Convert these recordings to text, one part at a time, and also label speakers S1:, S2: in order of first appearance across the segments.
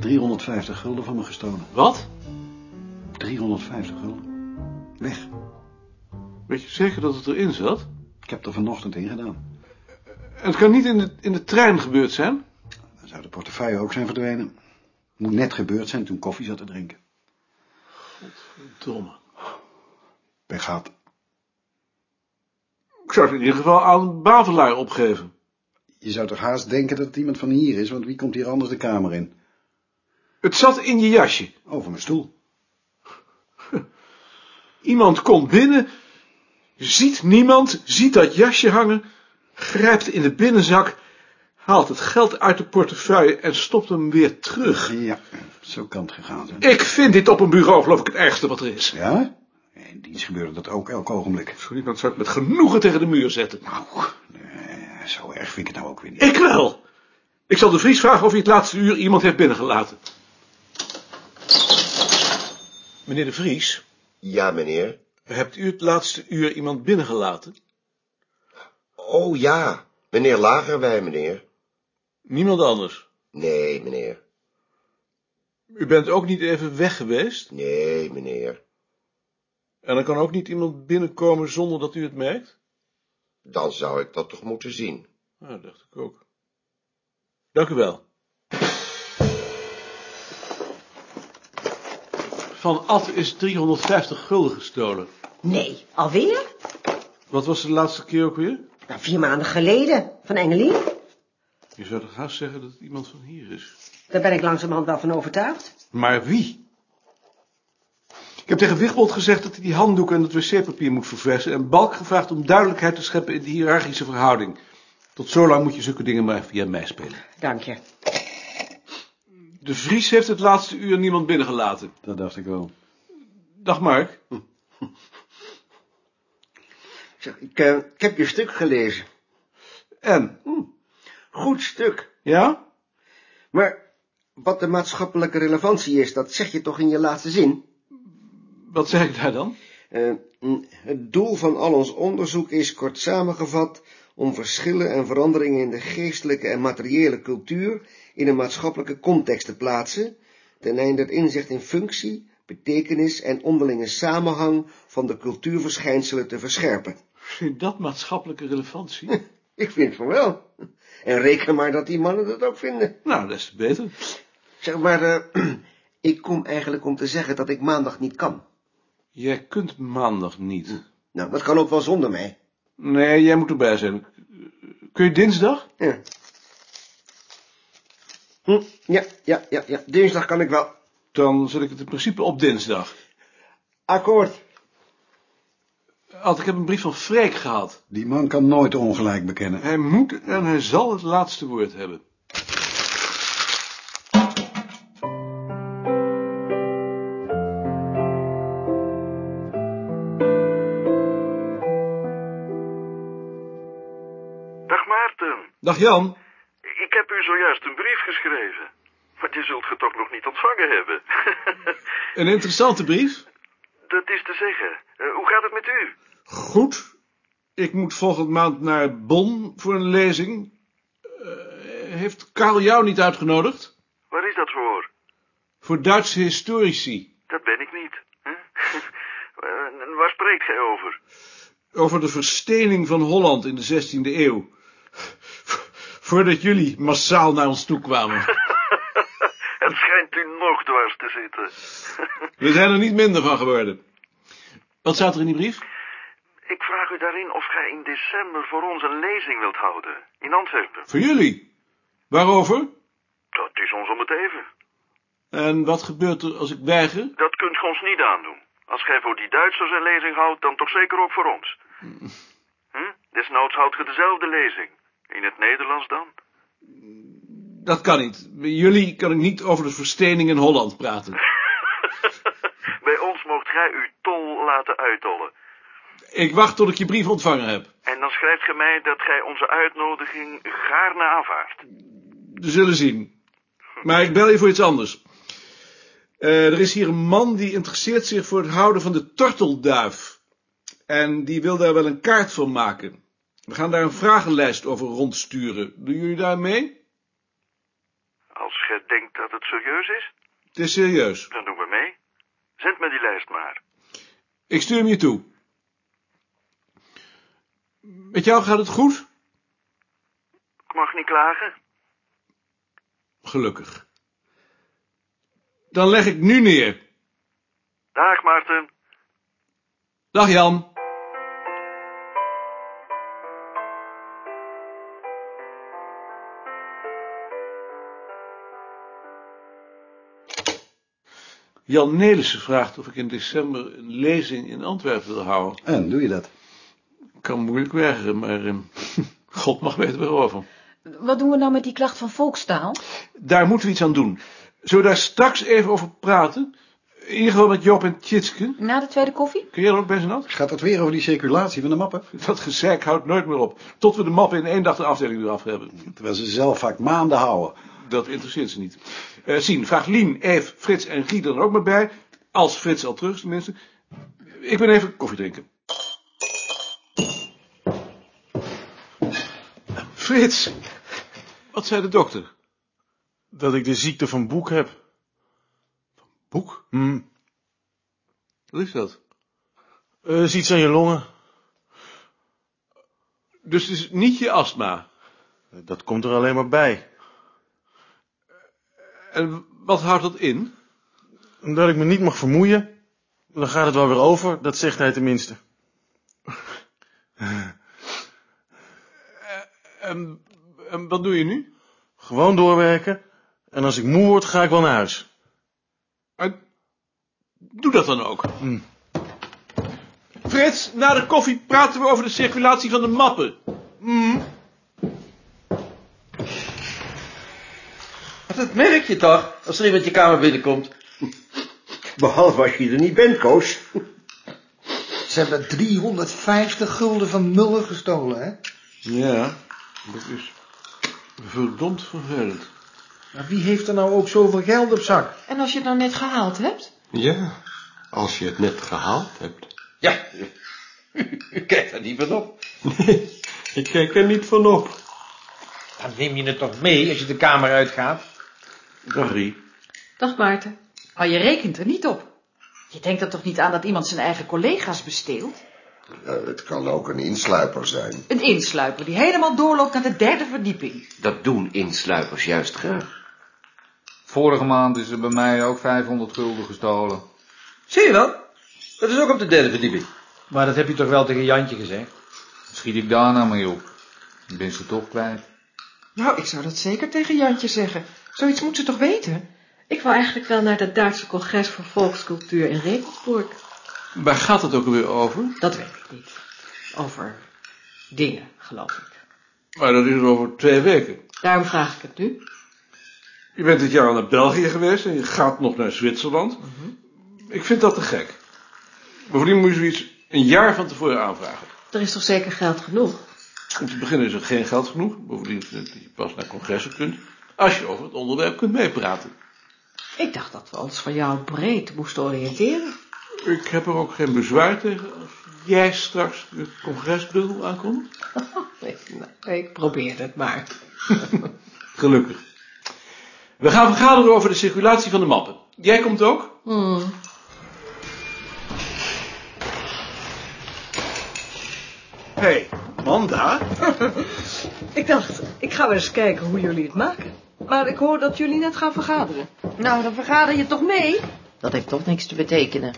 S1: 350 gulden van me gestolen.
S2: Wat?
S1: 350 gulden. Weg.
S2: Weet je zeker dat het erin zat?
S1: Ik heb er vanochtend in gedaan.
S2: En het kan niet in de, in de trein gebeurd zijn?
S1: Dan zou de portefeuille ook zijn verdwenen. Moet net gebeurd zijn toen koffie zat te drinken.
S2: Domme.
S1: Pech gehad.
S2: Ik zou het in ieder geval aan Bavelaar opgeven.
S1: Je zou toch haast denken dat het iemand van hier is, want wie komt hier anders de kamer in?
S2: Het zat in je jasje.
S1: Over mijn stoel.
S2: Iemand komt binnen, ziet niemand, ziet dat jasje hangen, grijpt in de binnenzak, haalt het geld uit de portefeuille en stopt hem weer terug.
S1: Ja, zo kan het gegaan zijn.
S2: Ik vind dit op een bureau geloof ik het ergste wat er is.
S1: Ja? In dienst gebeurde dat ook elk ogenblik.
S2: Zo iemand zou ik met genoegen tegen de muur zetten.
S1: Nou, eh, zo erg vind ik het nou ook weer niet.
S2: Ik wel. Ik zal de Vries vragen of hij het laatste uur iemand heeft binnengelaten. Meneer de Vries,
S3: Ja, meneer.
S2: hebt u het laatste uur iemand binnengelaten?
S3: Oh ja, meneer Lagerwij, meneer.
S2: Niemand anders.
S3: Nee, meneer.
S2: U bent ook niet even weg geweest?
S3: Nee, meneer.
S2: En er kan ook niet iemand binnenkomen zonder dat u het merkt?
S3: Dan zou ik dat toch moeten zien.
S2: Ja, dat dacht ik ook. Dank u wel. Van Ad is 350 gulden gestolen.
S4: Nee, alweer?
S2: Wat was de laatste keer ook weer?
S4: Nou, vier maanden geleden, van Engelien.
S2: Je zou toch haast zeggen dat het iemand van hier is.
S4: Daar ben ik langzamerhand wel van overtuigd.
S2: Maar wie? Ik heb tegen Wigbold gezegd dat hij die handdoeken en het wc-papier moet verversen... en Balk gevraagd om duidelijkheid te scheppen in de hiërarchische verhouding. Tot zolang moet je zulke dingen maar via mij spelen.
S4: Dank je.
S2: De Vries heeft het laatste uur niemand binnengelaten.
S1: Dat dacht ik wel.
S2: Dag Mark.
S5: Zeg, Ik, eh, ik heb je stuk gelezen.
S2: En?
S5: Goed stuk.
S2: Ja?
S5: Maar wat de maatschappelijke relevantie is, dat zeg je toch in je laatste zin?
S2: Wat zeg ik daar dan?
S5: Eh, mm, het doel van al ons onderzoek is, kort samengevat, om verschillen en veranderingen in de geestelijke en materiële cultuur in een maatschappelijke context te plaatsen, ten einde het inzicht in functie, betekenis en onderlinge samenhang van de cultuurverschijnselen te verscherpen.
S2: Vind dat maatschappelijke relevantie?
S5: Ik vind van wel. En reken maar dat die mannen dat ook vinden.
S2: nou, des te beter.
S5: Zeg maar, eh, ik kom eigenlijk om te zeggen dat ik maandag niet kan.
S2: Jij kunt maandag niet.
S5: Nou, dat kan ook wel zonder mij.
S2: Nee, jij moet erbij zijn. Kun je dinsdag?
S5: Ja. Hm, ja, ja, ja, ja. Dinsdag kan ik wel.
S2: Dan zet ik het in principe op dinsdag.
S5: Akkoord.
S2: Ad, ik heb een brief van Freek gehad.
S1: Die man kan nooit ongelijk bekennen.
S2: Hij moet en hij zal het laatste woord hebben.
S6: Dag Maarten,
S2: Dag Jan.
S6: ik heb u zojuist een brief geschreven. Maar je zult het ook nog niet ontvangen hebben.
S2: Een interessante brief.
S6: Dat is te zeggen. Eh, hoe gaat het met u?
S2: Goed. Ik moet volgende maand naar Bonn voor een lezing. Eh, heeft Karel jou niet uitgenodigd?
S6: Waar is dat voor?
S2: Voor Duitse historici.
S6: Dat ben ik niet. hè? Eh, Waar spreekt gij over?
S2: Over de verstening van Holland in de 16e eeuw. Voordat jullie massaal naar ons toe kwamen.
S6: Het schijnt u nog dwars te zitten.
S2: We zijn er niet minder van geworden. Wat staat er in die brief?
S6: Ik vraag u daarin of gij in december voor ons een lezing wilt houden. In Antwerpen.
S2: Voor jullie. Waarover?
S6: Dat is ons om het even.
S2: En wat gebeurt er als ik weiger?
S6: Dat kunt gij ons niet aandoen. Als gij voor die Duitsers een lezing houdt, dan toch zeker ook voor ons. Hm? Desnoods houdt ge dezelfde lezing. In het Nederlands dan?
S2: Dat kan niet. Bij jullie kan ik niet over de verstening in Holland praten.
S6: Bij ons moogt gij uw tol laten uittollen.
S2: Ik wacht tot ik je brief ontvangen heb.
S6: En dan schrijft gij mij dat gij onze uitnodiging gaarne aanvaardt.
S2: We zullen zien. Maar ik bel je voor iets anders. Eh, er is hier een man die interesseert zich voor het houden van de tortelduif. En die wil daar wel een kaart van maken. We gaan daar een vragenlijst over rondsturen. Doen jullie daar mee?
S6: Als gij denkt dat het serieus is?
S2: Het is serieus.
S6: Dan doen we mee. Zend me die lijst maar.
S2: Ik stuur hem je toe. Met jou gaat het goed?
S6: Ik mag niet klagen.
S2: Gelukkig. Dan leg ik nu neer.
S6: Dag Maarten.
S2: Dag Jan. Jan Nelissen vraagt of ik in december een lezing in Antwerpen wil houden.
S1: En doe je dat?
S2: Ik kan moeilijk weigeren, maar ehm, God mag weten waarover.
S7: Wat doen we nou met die klacht van volkstaal?
S2: Daar moeten we iets aan doen. Zullen we daar straks even over praten? In ieder geval met Job en Tjitske.
S7: Na de tweede koffie?
S2: Kun jij er ook bij zijn hand?
S1: Gaat het weer over die circulatie van de mappen?
S2: Dat gezeik houdt nooit meer op. Tot we de mappen in één dag de afdeling eraf hebben.
S1: Terwijl ze zelf vaak maanden houden.
S2: Dat interesseert ze niet. Eh Sien, vraag Lien, Eve, Frits en Guy dan ook maar bij. Als Frits al terug is tenminste. Ik ben even koffie drinken. Frits, wat zei de dokter?
S8: Dat ik de ziekte van Boek heb.
S2: Boek?
S8: Hm.
S2: Wat is dat?
S8: Eh, is iets aan je longen.
S2: Dus het is niet je astma.
S8: Eh, Dat komt er alleen maar bij.
S2: En wat houdt dat in?
S8: Omdat ik me niet mag vermoeien, dan gaat het wel weer over. Dat zegt hij tenminste.
S2: En, en wat doe je nu?
S8: Gewoon doorwerken. En als ik moe word, ga ik wel naar huis.
S2: En Eh, doe dat dan ook. Frits, na de koffie praten we over de circulatie van de mappen.
S9: Dat merk je toch, als er iemand je kamer binnenkomt.
S5: Behalve als je er niet bent, Koos.
S10: Ze hebben 350 gulden van Muller gestolen, hè?
S2: Ja, dat is verdomd vervelend.
S10: Maar wie heeft er nou ook zoveel geld op zak?
S7: En als je het nou net gehaald hebt?
S3: Ja, als je het net gehaald hebt.
S9: Ja, u kijkt daar niet van op.
S3: Ik kijk er niet van op.
S9: Dan neem je het toch mee als je de kamer uitgaat?
S2: Dag Rie.
S7: Dag Maarten. Maar Oh, je rekent er niet op. Je denkt er toch niet aan dat iemand zijn eigen collega's besteelt?
S3: Nou, het kan ook een insluiper zijn.
S7: Een insluiper die helemaal doorloopt naar de derde verdieping.
S9: Dat doen insluipers juist graag.
S11: Vorige maand is er bij mij ook 500 gulden gestolen.
S9: Zie je wel? Dat is ook op de derde verdieping.
S10: Maar dat heb je toch wel tegen Jantje gezegd?
S11: Schiet ik daar nou mee op? Ik ben ze toch kwijt.
S7: Nou, ik zou dat zeker tegen Jantje zeggen. Zoiets moet ze toch weten?
S12: Ik wil eigenlijk wel naar dat Duitse congres voor volkscultuur in Regensburg.
S2: Waar gaat het ook weer over?
S12: Dat weet ik niet. Over dingen, geloof ik.
S2: Maar dat is over twee weken.
S12: Daarom vraag ik het nu.
S2: Je bent dit jaar naar België geweest en je gaat nog naar Zwitserland. Ik vind dat te gek. Bovendien moet je zoiets een jaar van tevoren aanvragen.
S12: Er is toch zeker geld genoeg?
S2: Om te beginnen is er geen geld genoeg. Bovendien vind ik dat je pas naar congressen kunt. Als je over het onderwerp kunt meepraten.
S12: Ik dacht dat we ons van jou breed moesten oriënteren.
S2: Ik heb er ook geen bezwaar tegen als jij straks het congresbundel aankomt.
S12: Nee, nou, ik probeer het maar.
S2: Gelukkig. We gaan vergaderen over de circulatie van de mappen. Jij komt ook? Hé, hey, Manda.
S12: Ik dacht, ik ga wel eens kijken hoe jullie het maken. Maar ik hoor dat jullie net gaan vergaderen.
S7: Nou, dan vergader je toch mee?
S12: Dat heeft toch niks te betekenen.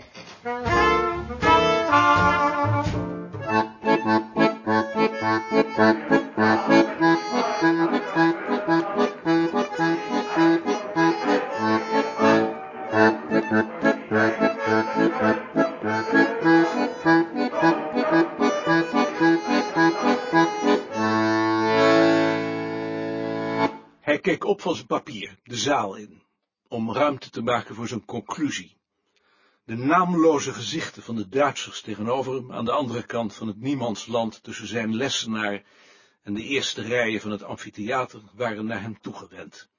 S2: Hij keek op van zijn papier, de zaal in, om ruimte te maken voor zijn conclusie. De naamloze gezichten van de Duitsers tegenover hem aan de andere kant van het niemandsland tussen zijn lessenaar en de eerste rijen van het amfitheater waren naar hem toegewend.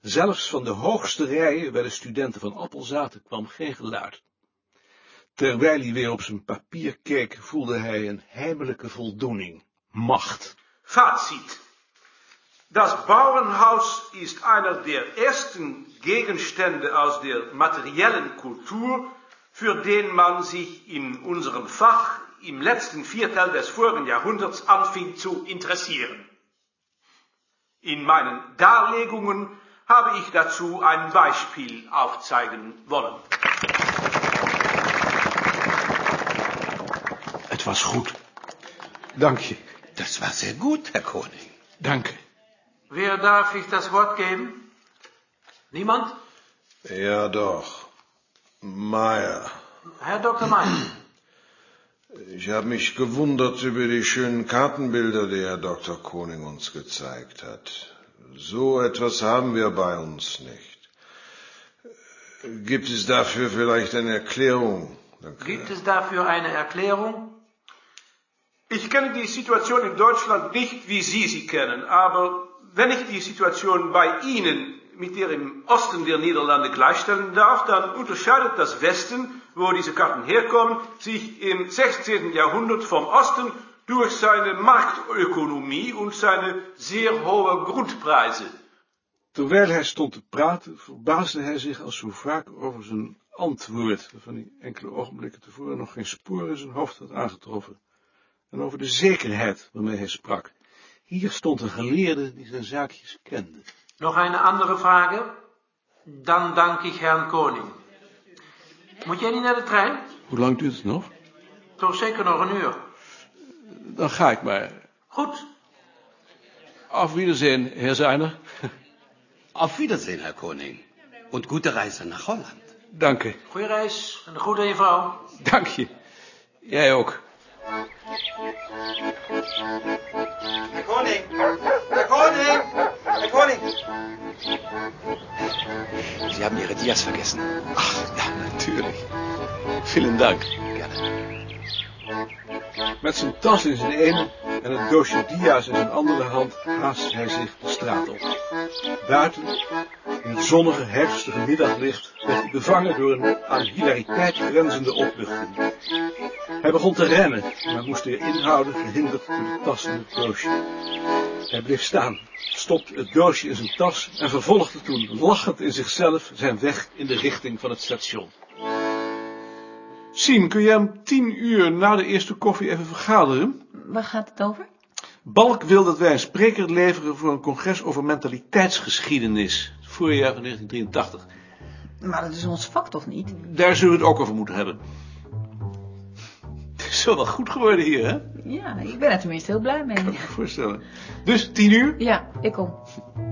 S2: Zelfs van de hoogste rijen waar de studenten van Appel zaten kwam geen geluid. Terwijl hij weer op zijn papier keek, voelde hij een heimelijke voldoening, macht.
S8: Gaat ziet.
S13: Das Bauernhaus ist einer der ersten Gegenstände aus der materiellen Kultur, für den man sich in unserem Fach im letzten Viertel des vorigen Jahrhunderts anfing zu interessieren. In meinen Darlegungen habe ich dazu ein Beispiel aufzeigen wollen.
S1: Het was goed.
S2: Dank je.
S1: Das war sehr gut, Herr Koning.
S2: Danke.
S12: Wer darf ich das Wort geben? Niemand?
S14: Ja, doch. Meier.
S12: Herr Dr. Mann.
S14: Ich habe mich gewundert über die schönen Kartenbilder, die Herr Dr. Koning uns gezeigt hat. So etwas haben wir bei uns nicht. Gibt es dafür vielleicht eine Erklärung? Dann
S12: Gibt es dafür eine Erklärung?
S13: Ich kenne die Situation in Deutschland nicht, wie Sie sie kennen, aber wenn ich die Situation bei Ihnen mit der im Osten der Niederlande gleichstellen darf, dann unterscheidet das Westen, wo diese Karten herkommen, sich im 16. Jahrhundert vom Osten durch seine Marktökonomie und seine sehr hohe Grundpreise.
S2: Terwijl hij stond te praten, verbaasde hij zich als zo vaak over zijn antwoord, waarvan hij enkele ogenblikken tevoren nog geen spoor in zijn hoofd had aangetroffen, en over de zekerheid waarmee hij sprak. Hier stond een geleerde die zijn zaakjes kende.
S12: Noch eine andere Frage? Dann danke ich Herrn Koning. Moet jij niet naar de trein?
S2: Hoe lang duurt het nog?
S12: Toch zeker nog een uur.
S2: Dan ga ik maar.
S12: Goed,
S2: Auf Wiedersehen, Herr Seiner.
S1: Auf Wiedersehen, Herr Koning. Und gute Reise nach Holland.
S2: Dank je.
S12: goede reis en een goede aan je vrouw.
S2: Dank je. Jij ook.
S15: Herr Koning! Herr Koning! Herr Koning!
S1: Sie haben Ihre Dias vergessen. Ach, ja, natürlich. Vielen Dank.
S2: Met zijn tas in zijn ene en het doosje dia's in zijn andere hand haast hij zich de straat op. Buiten, in het zonnige, herfstige middaglicht, werd hij bevangen door een aan hilariteit grenzende opluchting. Hij begon te rennen, maar moest weer inhouden, gehinderd door de tas en het doosje. Hij bleef staan, stopte het doosje in zijn tas en vervolgde toen, lachend in zichzelf, zijn weg in de richting van het station. Sien, kun jij om tien uur na de eerste koffie even vergaderen?
S16: Waar gaat het over?
S2: Balk wil dat wij een spreker leveren voor een congres over mentaliteitsgeschiedenis. Het Voorjaar van 1983.
S16: Maar dat is ons vak toch niet?
S2: Daar zullen we het ook over moeten hebben. Het is zo wel goed geworden hier, hè? Ik
S16: Ja, ik ben er tenminste heel blij mee.
S2: kan me voorstellen. Dus tien uur?
S16: Ja, ik kom.